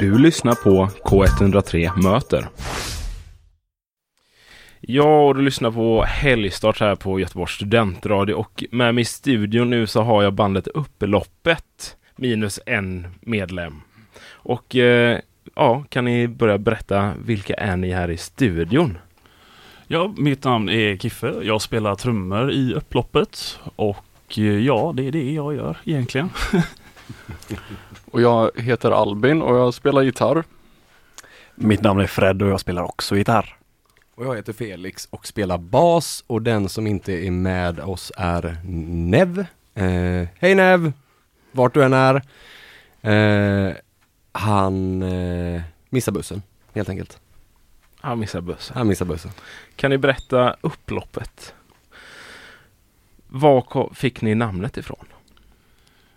Du lyssnar på K103 Möter. Ja, och du lyssnar på helgstart här på Göteborgs studentradio och med mig i studion nu så har jag bandet Upploppet minus en medlem. Och eh, ja, kan ni börja berätta vilka är ni här i studion? Ja, mitt namn är Kiffe. Jag spelar trummor i upploppet och eh, ja, det är det jag gör egentligen. Och jag heter Albin och jag spelar gitarr. Mitt namn är Fred och jag spelar också gitarr. Och jag heter Felix och spelar bas och den som inte är med oss är Nev. Eh, hej Nev! Vart du än är. Eh, han eh, missar bussen, helt enkelt. Han missar bussen. Han missar bussen. Kan ni berätta upploppet? Var ko- fick ni namnet ifrån?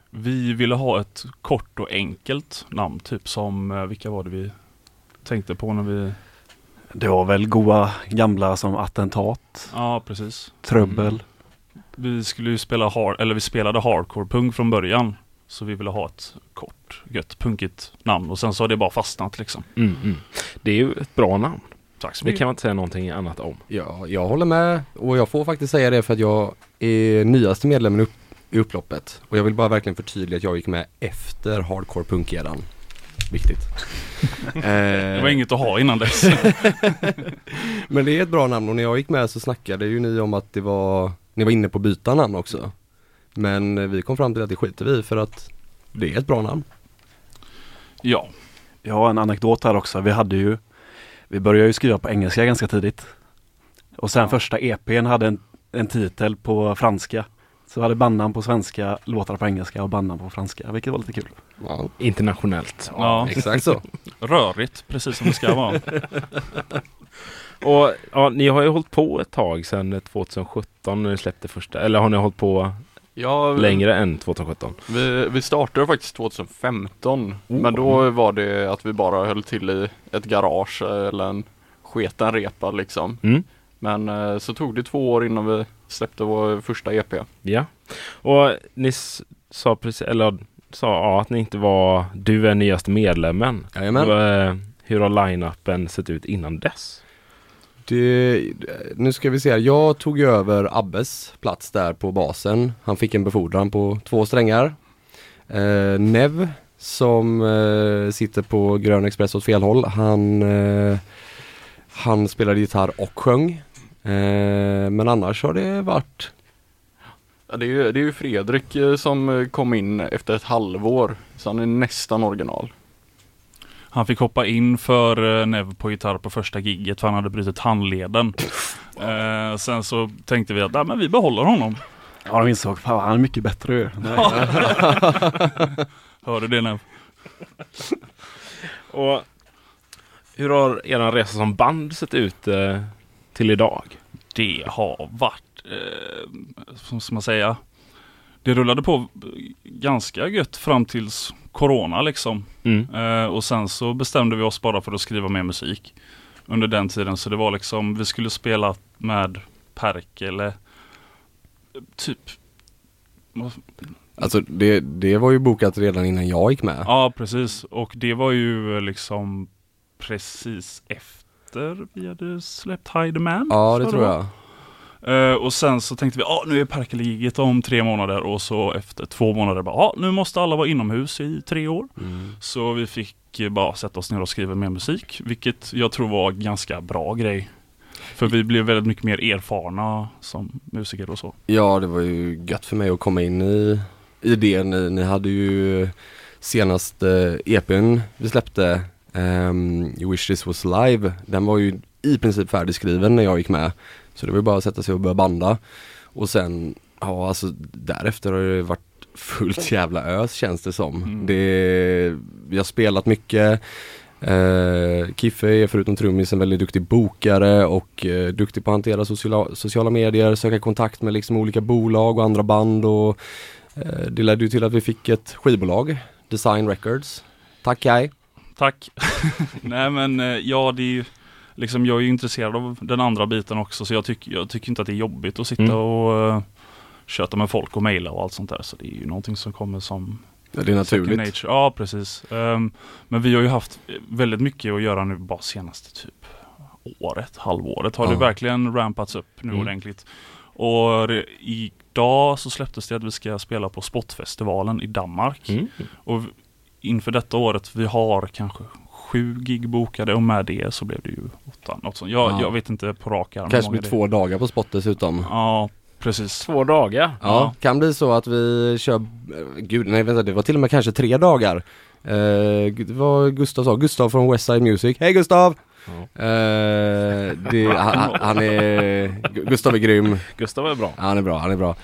Vi ville ha ett kort och enkelt namn, typ som eh, vilka var det vi tänkte på när vi... Det var väl goa gamla som attentat, Ja, precis. trubbel. Mm. Vi skulle ju spela hard, eller vi spelade hardcore punk från början. Så vi ville ha ett kort, gött, punkigt namn och sen så har det bara fastnat liksom. Mm, Det är ju ett bra namn. Tack så Det mycket. kan man inte säga någonting annat om. Ja, jag håller med och jag får faktiskt säga det för att jag är nyaste medlemmen upp, i upploppet. Och jag vill bara verkligen förtydliga att jag gick med efter hardcore punk-eran. Viktigt. Eh, Det var inget att ha innan dess. Men det är ett bra namn och när jag gick med så snackade ju ni om att det var, ni var inne på att byta namn också. Men eh, vi kom fram till att det skiter vi i för att det är ett bra namn. ja, Jag har en anekdot här också. Vi hade ju, vi började ju skriva på engelska ganska tidigt. Och sen första EPn hade en, en titel på franska. Så vi hade bandnamn på svenska, låtar på engelska och bandnamn på franska, vilket var lite kul. Ja, Internationellt. ja. exakt så. rörigt, precis som det ska vara. Och ja, ni har ju hållit på ett tag sedan 2017 när ni släppte första, eller har ni hållit på Ja, vi- längre än 2017? Vi, vi startade faktiskt 2015. Oh. Men då var det att vi bara höll till i ett garage eh, eller en sketen repa liksom. Mm. Men eh, så tog det två år innan vi släppte vår första E EP. Ja. Och ni s- sa precis, eller sa ja, att ni inte var, du är nyaste medlemmen. Jajamän. Och, eh, Hur har line-upen sett ut innan dess? Det, nu ska vi se här. Jag tog ju över Abbes plats där på basen. Han fick en befordran på två strängar. Eh, Nev som eh, sitter på Grön Express åt fel håll. Han, eh, han spelade gitarr och sjöng. Eh, men annars har det varit Ja, det, är ju, det är ju Fredrik eh, som eh, kom in efter ett halvår. Så han är nästan original. Han fick hoppa in för eh, Nev på gitarr på första gigget för han hade brutit handleden. Eh, sen så tänkte vi att "Nej, men vi behåller honom. Ja, de insåg, fan han är mycket bättre ju. Hör du det Nev? Och hur har er resa som band sett ut eh, till idag? Det har varit, eh, som ska man säga, det rullade på ganska gött fram tills Corona liksom. Mm. Eh, och sen så bestämde vi oss bara för att skriva mer musik under den tiden. Så det var liksom, vi skulle spela med Perkele, typ, vad Alltså det, det var ju bokat redan innan jag gick med. Ja, precis. Och det var ju eh, liksom precis efter vi hade släppt Hide the Man. Ja, så det tror var. jag. Eh, och sen så tänkte vi, ja nu är Perkele-giget om tre månader och så efter två månader bara, ja nu måste alla vara inomhus i tre år. Så vi fick eh, bara sätta oss ner och skriva mer musik, vilket jag tror var en ganska bra grej. För vi blev väldigt mycket mer erfarna som musiker och så. Ja, det var ju gött för mig att komma in i, i det. Ni, ni hade ju senaste EPn vi släppte, ehm, You wish this was live, den var ju i princip färdigskriven när jag gick med. Så det var ju bara att sätta sig och börja banda. Och sen, ja alltså därefter har det varit fullt jävla ös känns det som. Mm. Det, vi har spelat mycket, Eh, Kiffe är förutom trummis en väldigt duktig bokare och eh, duktig på att hantera sociala, sociala medier, söka kontakt med liksom olika bolag och andra band och eh, det ledde ju till att vi fick ett skivbolag, Design Records. Tack Kaj! Tack. Nej men eh, ja det är ju liksom jag är ju intresserad av den andra biten också så jag, tyck, jag tycker inte att det är jobbigt att sitta eh, Mm. och uh, köta med folk och mejla och allt sånt där så det är ju någonting som kommer som Ja, det är Second naturligt. Nature. Ja, precis. Ehm, men vi har ju haft väldigt mycket att göra nu bara senaste typ året, halvåret. Har det Ja. verkligen rampats upp nu Mm. ordentligt. Och det- idag så släpptes det att vi ska spela på Spotfestivalen i Danmark. Mm. Och v- inför detta året, vi har kanske sju gig bokade och med det så blev det ju åtta, något sånt. Jag, Ja. jag vet inte på rak arm. hur Kanske många blir det är. två dagar på spot dessutom. Ja. Ja, precis. Två dagar. Ja. kan bli så att vi kör, eh, gud nej vänta det var till och med kanske tre dagar. Eh, gud, vad Gustav sa, Gustav från Westside Music. Hej Gustav! Eh, det, han, han är, Gu- Gustav är grym, Gustav är bra. han är bra, han är bra.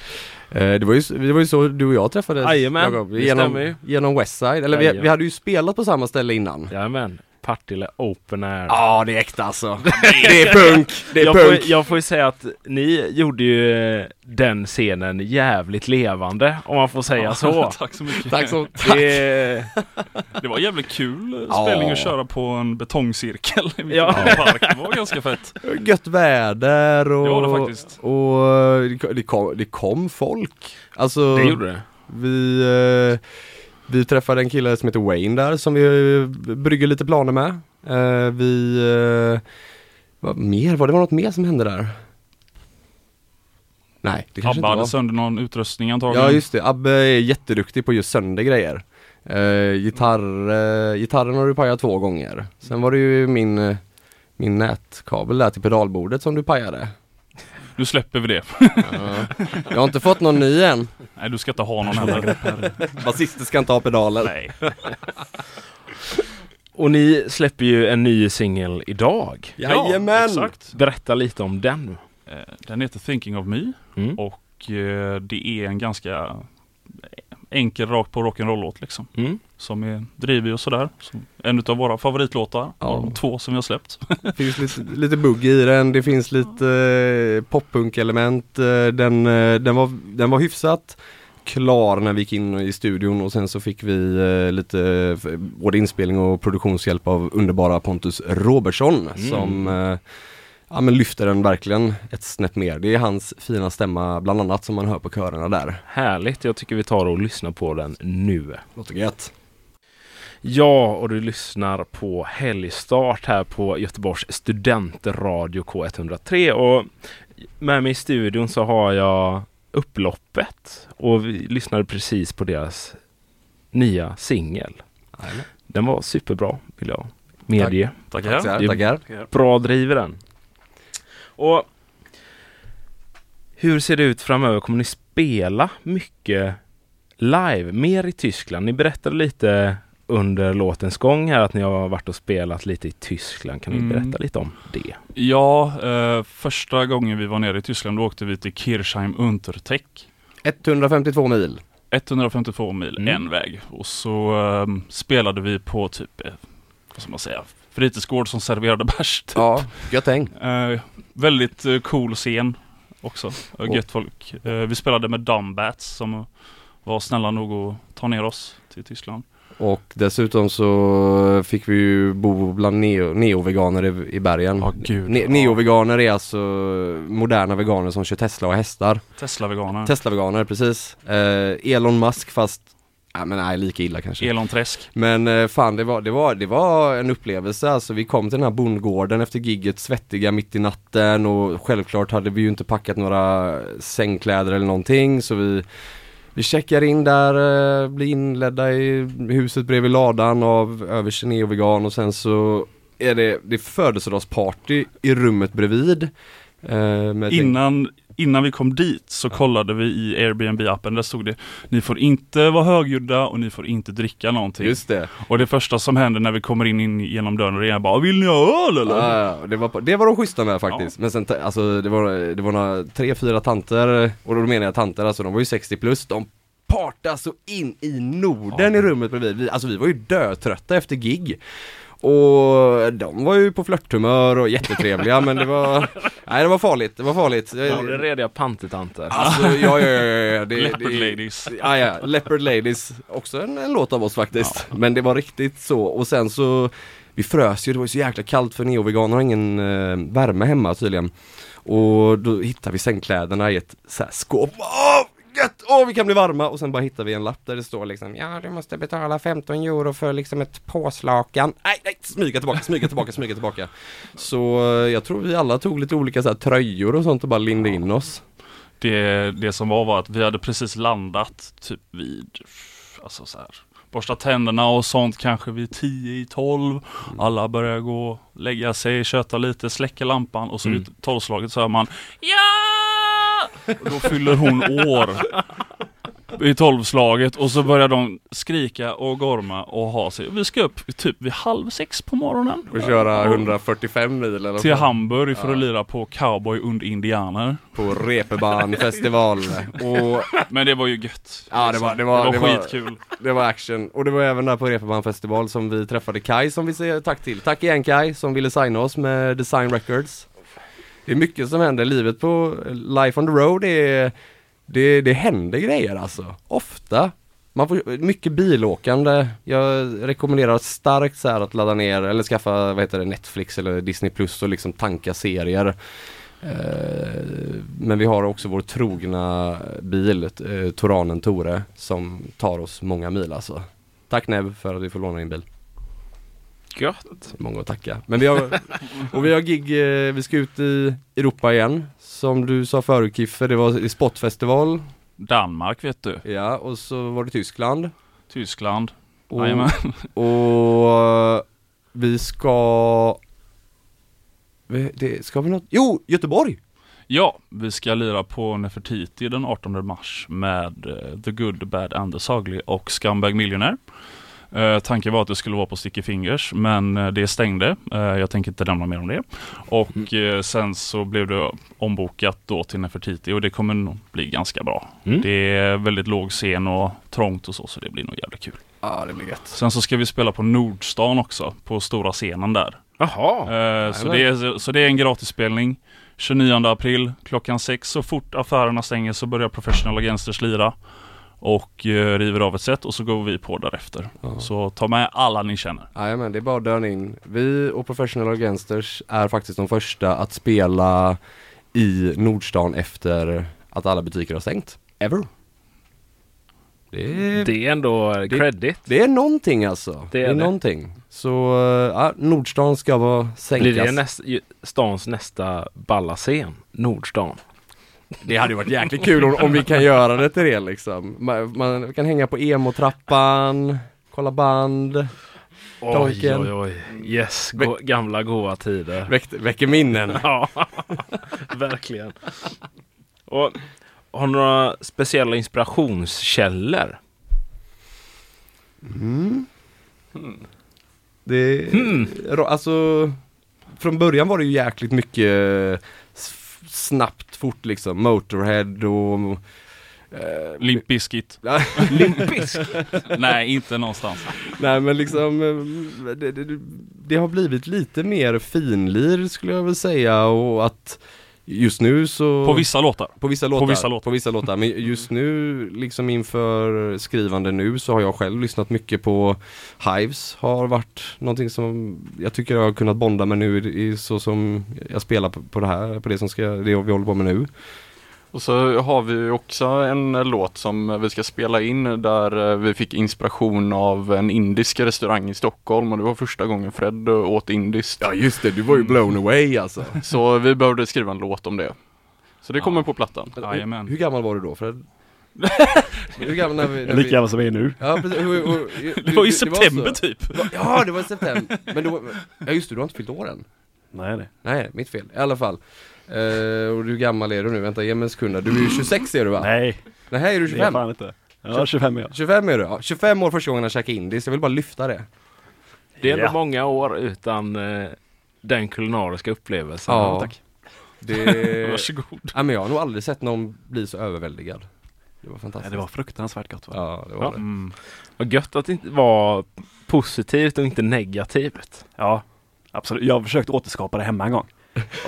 Eh, det, var ju, s- det var ju så du och jag träffades Jajamän, Jakob. det stämmer ju. genom, genom Westside, eller vi, Jajamän. vi hade ju spelat på samma ställe innan. Jajamän. Partille Open Air. Ja det är äkta alltså. Det är punk, det är jag, får, punk. jag får ju säga att ni gjorde ju eh, den scenen jävligt levande, om man får säga så. Tack så mycket. Tack så Det, Det var en jävligt kul Ja. spelning att köra på en betongcirkel i Ja. ja. park. Det var ganska fett. Gött väder och... Det var det faktiskt. Och eh, det ko- det kom, det kom folk. Alltså, det gjorde det. vi, eh, vi träffade en kille som heter Wayne där som vi eh, brygger lite planer med. Eh, vi, eh, vad mer var det? var något mer som hände där? Nej, det kanske Abba "Alltså, hade inte sönder någon utrustning var. antagligen. Ja just det, Abbe är jätteduktig på just sönder grejer. Eh, gitarr, eh, gitarren har du pajat två gånger. Sen var det ju min, eh, min nätkabel där till pedalbordet som du pajade. Nu släpper vi det. Jag har inte fått någon ny än. Nej, du ska inte ha någon heller. Basister ska inte ha pedaler. Nej. Och ni släpper ju en ny singel idag. Jajamän! exakt. Berätta lite om den. Eh, Den heter Thinking of Me Mm. och eh, det är en ganska enkel rakt på rock'n'roll-låt liksom. Mm. Som är drivig och sådär. Som en av våra favoritlåtar. Ja. Av de två som vi har släppt. Det finns lite, lite bugg i den, det finns lite eh, poppunk-element. Eh, den, eh, den, var, den var hyfsat klar när vi gick in i studion och sen så fick vi eh, lite eh, både inspelning och produktionshjälp av underbara Pontus Robertsson som eh, ja, men lyfter den verkligen ett snäpp mer. Det är hans fina stämma bland annat som man hör på körerna där. Härligt, jag tycker vi tar och lyssnar på den nu. Låter gött. Ja, och du lyssnar på helgstart här på Göteborgs studentradio K103 och med mig i studion så har jag Upploppet och vi lyssnade precis på deras nya singel. Jajamän. Den var superbra vill jag medge. Tackar. Det är- Tackar, tackar. Bra driver den. Och hur ser det ut framöver? Kommer ni spela mycket live? Mer i Tyskland? Ni berättade lite under låtens gång här att ni har varit och spelat lite i Tyskland. Kan ni Mm. berätta lite om det? Ja, eh, första gången vi var nere i Tyskland då åkte vi till Kirchheim Unterteck. 152 mil. 152 mil Mm. en väg och så ehm, spelade vi på typ, eh, vad ska man säga, fritidsgård som serverade bärs. typ. Ja, gött häng. Eh, väldigt eh, cool scen också, och gött folk. Eh, vi spelade med Dumbats som var snälla nog att ta ner oss till Tyskland. Och dessutom så fick vi ju bo bland neo- neo-veganer i, i bergen. Ja, gud. Ne- Ja. neo-veganer är alltså moderna veganer som kör Tesla och hästar. Tesla-veganer, Tesla-veganer, precis. Eh, Elon Musk fast, nej men nej lika illa kanske. Elon Träsk. Men eh, fan det var, det, var, det var en upplevelse alltså. Vi kom till den här bondgården efter gigget svettiga mitt i natten och självklart hade vi ju inte packat några sängkläder eller någonting så vi vi checkar in där, eh, blir inledda i huset bredvid ladan av översten neo-vegan och sen så är det, det är födelsedagsparty i rummet bredvid. Eh, med Innan, innan vi kom dit så kollade vi i Airbnb-appen, där stod det Ni får inte vara högljudda och ni får inte dricka någonting. Just det. Och det första som händer när vi kommer in, in genom dörren är bara Vill ni ha öl eller? Ja, ja, det, var, på- det var de schyssta med faktiskt. Men sen, ta- alltså det var, det var några, tre, fyra tanter, och då menar jag tanter, alltså de var ju 60 plus, de partade så in i Norden i rummet bredvid. Vi, alltså vi var ju dötrötta efter gig. Och de var ju på flörthumör och jättetrevliga men det var, nej det var farligt, det var farligt. Ja, det är rediga pantetanter. Alltså ja, ja, ja, ja. Det, Leopard det, Ladies. Ja, ja, Leopard Ladies, också en, en låt av oss faktiskt. Men det var riktigt så och sen så Vi frös ju, det var ju så jäkla kallt för neoveganer har ingen eh, värme hemma tydligen. Och då hittade vi sängkläderna i ett så här skåp. Åh, gött! Åh, vi kan bli varma! Och sen bara hittar vi en lapp där det står liksom, ja du måste betala 15 euro för liksom ett påslakan. Nej, nej, smyga tillbaka, smyga tillbaka, smyga tillbaka. Så eh, jag tror vi alla tog lite olika så här, tröjor och sånt och bara lindade in oss. Det, det som var var att vi hade precis landat typ vid, alltså så här, borsta tänderna och sånt kanske vid 10 i 12. Mm. Alla börjar gå, lägga sig, köta lite, släcka lampan och så Mm. vid tolvslaget så hör man Ja! Och då fyller hon år i tolvslaget och så börjar de skrika och gorma och ha sig. Vi ska upp typ vid halv sex på morgonen. Och köra 145 mil eller Till vad fan, Hamburg för att lira på Cowboy und Indianer. på Reeperbahnfestival. Och Men det var ju gött. Ja, det var- det var- det det var var- skitkul. Det var action. Och det var även där på Reeperbahn festival som vi träffade Kai som vi säger tack till. Tack igen Kai som ville signa oss med Design Records. Det är mycket som händer. Livet på Life on the Road är, det, det händer grejer alltså. Ofta. Man får mycket bilåkande. Jag rekommenderar starkt så här att ladda ner eller skaffa vad heter det, Netflix eller Disney Plus och liksom tanka serier. Eh, Men vi har också vår trogna bil, eh, Toranen Tore, som tar oss många mil alltså. Tack Neb för att vi får låna din bil. Gött. Många att tacka. Men vi har, och vi har gig, eh, vi ska ut i Europa igen. Som du sa förut Kiffe, det var i Spotfestival. Danmark vet du. Ja, och så var det Tyskland. Tyskland. Och, Jajamän. och eh, vi ska... vi- Det, ska vi något? Jo, Göteborg! Ja, vi ska lira på Nefertiti den 18 mars med eh, The Good, The Bad and The Sagly och Scumbag Millionaire. Eh, tanken var att det skulle vara på Sticky Fingers, men eh, det stängde. Eh, jag tänker inte nämna mer om det. Och Mm. eh, sen så blev det ombokat då till Nefertiti och det kommer nog bli ganska bra. Mm. Det är väldigt låg scen och trångt och så, så det blir nog jävligt kul. Ja, det blir gött. Sen så ska vi spela på Nordstan också, på stora scenen där. Jaha. Eh, så, det är, så det är en gratisspelning 29 april klockan 6 Så fort affärerna stänger så börjar Professional Againsters lira Och eh, river av ett set och så går vi på därefter Ja. Så ta med alla ni känner Jajamän, det är bara att dörna in. Vi och Professional Againsters är faktiskt de första att spela i Nordstan efter att alla butiker har stängt. Ever. Det är, det, Det är ändå eh, credit. är någonting alltså. Det är, det. någonting. Så, eh, ja, Nordstan ska vara Blir sänkas. det näst, ju- stans nästa balla scen? Nordstan. Det hade ju varit jäkligt kul om, om vi kan göra det till det liksom. Man, man kan hänga på emo-trappan, kolla band, Oj, Tolken. oj, oj. Yes, go- gamla goa tider. väck, väcker minnen. Ja, verkligen. Och har ni några speciella inspirationskällor? Det, Hmm. Ro- Alltså, från början var det ju jäkligt mycket s- snabbt, fort liksom. Motorhead och... eh, Limp Bizkit Limpisk? Nej inte någonstans Nej men liksom, eh, det, det, det har blivit lite mer finlir skulle jag väl säga och att just nu så... På vissa låtar På vissa låtar. vissa låtar. På vissa låtar. Men just nu, liksom inför skrivande nu, så har jag själv lyssnat mycket på Hives. Har varit någonting som jag tycker jag har kunnat bonda med nu, i, i, så som jag spelar på, på det här, på det som ska, det vi håller på med nu. Och så har vi ju också en eh, låt som vi ska spela in där eh, vi fick inspiration av en indisk restaurang i Stockholm och det var första gången Fred eh, åt indiskt. just det, du var ju blown away alltså. Så vi behövde skriva en låt om det. Så det kommer på plattan. Jajamän. Hur gammal var du då Fred? Hur gammal när vi... När Lika vi... gammal som vi är nu. Ja, precis, hur- hur- hur- Det var i hur- så. september typ Ja, det var i september. Men då, ja just det, du har inte fyllt år än. Nej, nej. Nej, mitt fel. I alla fall. Eh, och hur gammal är du nu? Vänta, ge mig en sekund här. Du är ju 26 är du va? Nej, Nej, här är du det är 25? fan inte. Ja, 25 är jag. 25 är du, ja. 25 år första gången jag käkade indiskt, jag vill bara lyfta det. Det är ändå Ja. många år utan eh, den kulinariska upplevelsen. Ja. tack. Det... Varsågod ja, men jag har nog aldrig sett någon bli så överväldigad. Det var Ja, fantastiskt. det var fruktansvärt gott va? Ja, det var Ja. det. mm. Vad gött att det inte var positivt och inte negativt. Ja, absolut. Jag har försökt återskapa det hemma en gång.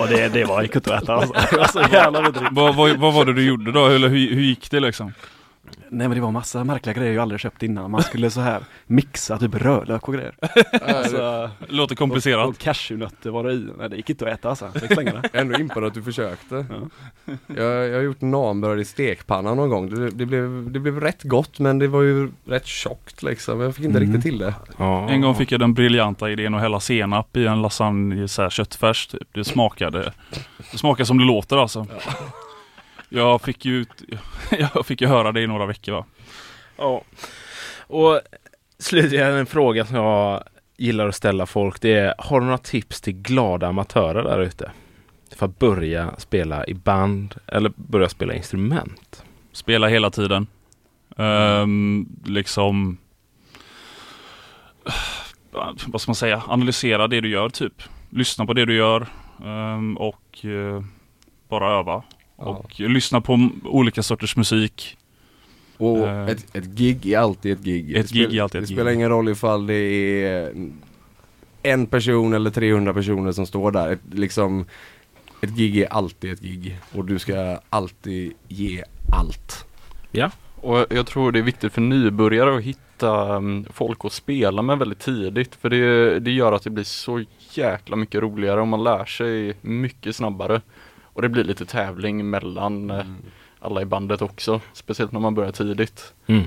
Och det, det var, gick inte att äta alltså. Det var så jävla vidrigt. vad, vad, vad var det du gjorde då? Eller hur, hur gick det liksom? Nej men det var massa märkliga grejer jag aldrig köpt innan. Man skulle så här mixa typ rödlök och grejer. Alltså, Låter och, komplicerat. och cashewnötter var det i. Nej det gick inte att äta alltså. Jag fick slänga det. Jag är ändå impad att du försökte. Ja. Jag, jag har gjort naanbröd i stekpanna någon gång. Det, det, blev, det blev rätt gott men det var ju rätt tjockt liksom. Jag fick inte Mm. riktigt till det. Ja. En gång fick jag den briljanta idén att hälla senap i en lasagne, så här köttfärs typ. Det smakade, det smakade som det låter alltså. Jag fick ju, ut- jag fick ju höra det i några veckor va. Ja. Och slutligen en fråga som jag gillar att ställa folk. Det är, har du några tips till glada amatörer där ute? För att börja spela i band eller börja spela instrument. Spela hela tiden. Ehm, liksom eh, Vad ska man säga? Analysera det du gör typ. Lyssna på det du gör ehm, och eh, bara öva. Ja. Och lyssna på m- olika sorters musik. Och Eh. ett, ett gig är alltid ett gig. Ett det gig är spel- alltid ett Det gig. spelar ingen roll ifall det är en person eller 300 personer som står där. Ett, liksom, ett gig är alltid ett gig och du ska alltid ge allt. Och jag tror det är viktigt för nybörjare att hitta mm, folk att spela med väldigt tidigt. För det, det gör att det blir så jäkla mycket roligare och man lär sig mycket snabbare. Och det blir lite tävling mellan eh, alla i bandet också. Speciellt när man börjar tidigt. Mm.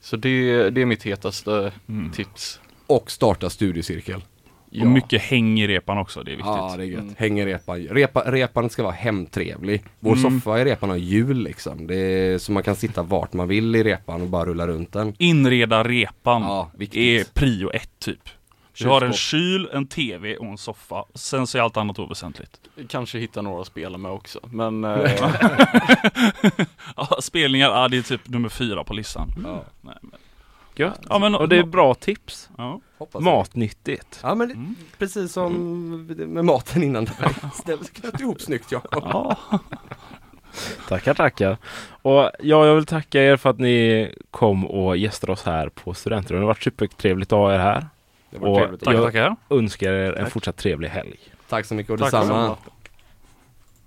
Så det, det är mitt hetaste Mm. tips. Och starta studiecirkel. Ja. Och mycket häng i repan också, det är viktigt. Ja, det är gött. Mm. Häng i repan. Repa, repan ska vara hemtrevlig. Vår Mm. soffa i repan har hjul liksom. Det är, så man kan sitta vart man vill i repan och bara rulla runt den. Inreda repan Ja, är viktigt. prio ett typ. Du har en kyl, en tv och en soffa. Sen så är allt annat oväsentligt. Kanske hitta några att spela med också. Men eh, Ja, spelningar, ja, det är typ nummer fyra på listan. Ja, Gött. Ja, men, Och det är bra tips. ja. hoppas det. Matnyttigt. Ja men det- Mm. precis som med maten innan där. Ställ- Knöt ihop snyggt Jakob. Tackar, tackar. Och ja, jag vill tacka er för att ni kom och gästade oss här på Studentrummet. Det har varit supertrevligt att ha er här. Det Och var trevligt. Tack, Jag- tackar. Önskar er en fortsatt trevlig helg. Tack så mycket och tack detsamma. så mycket.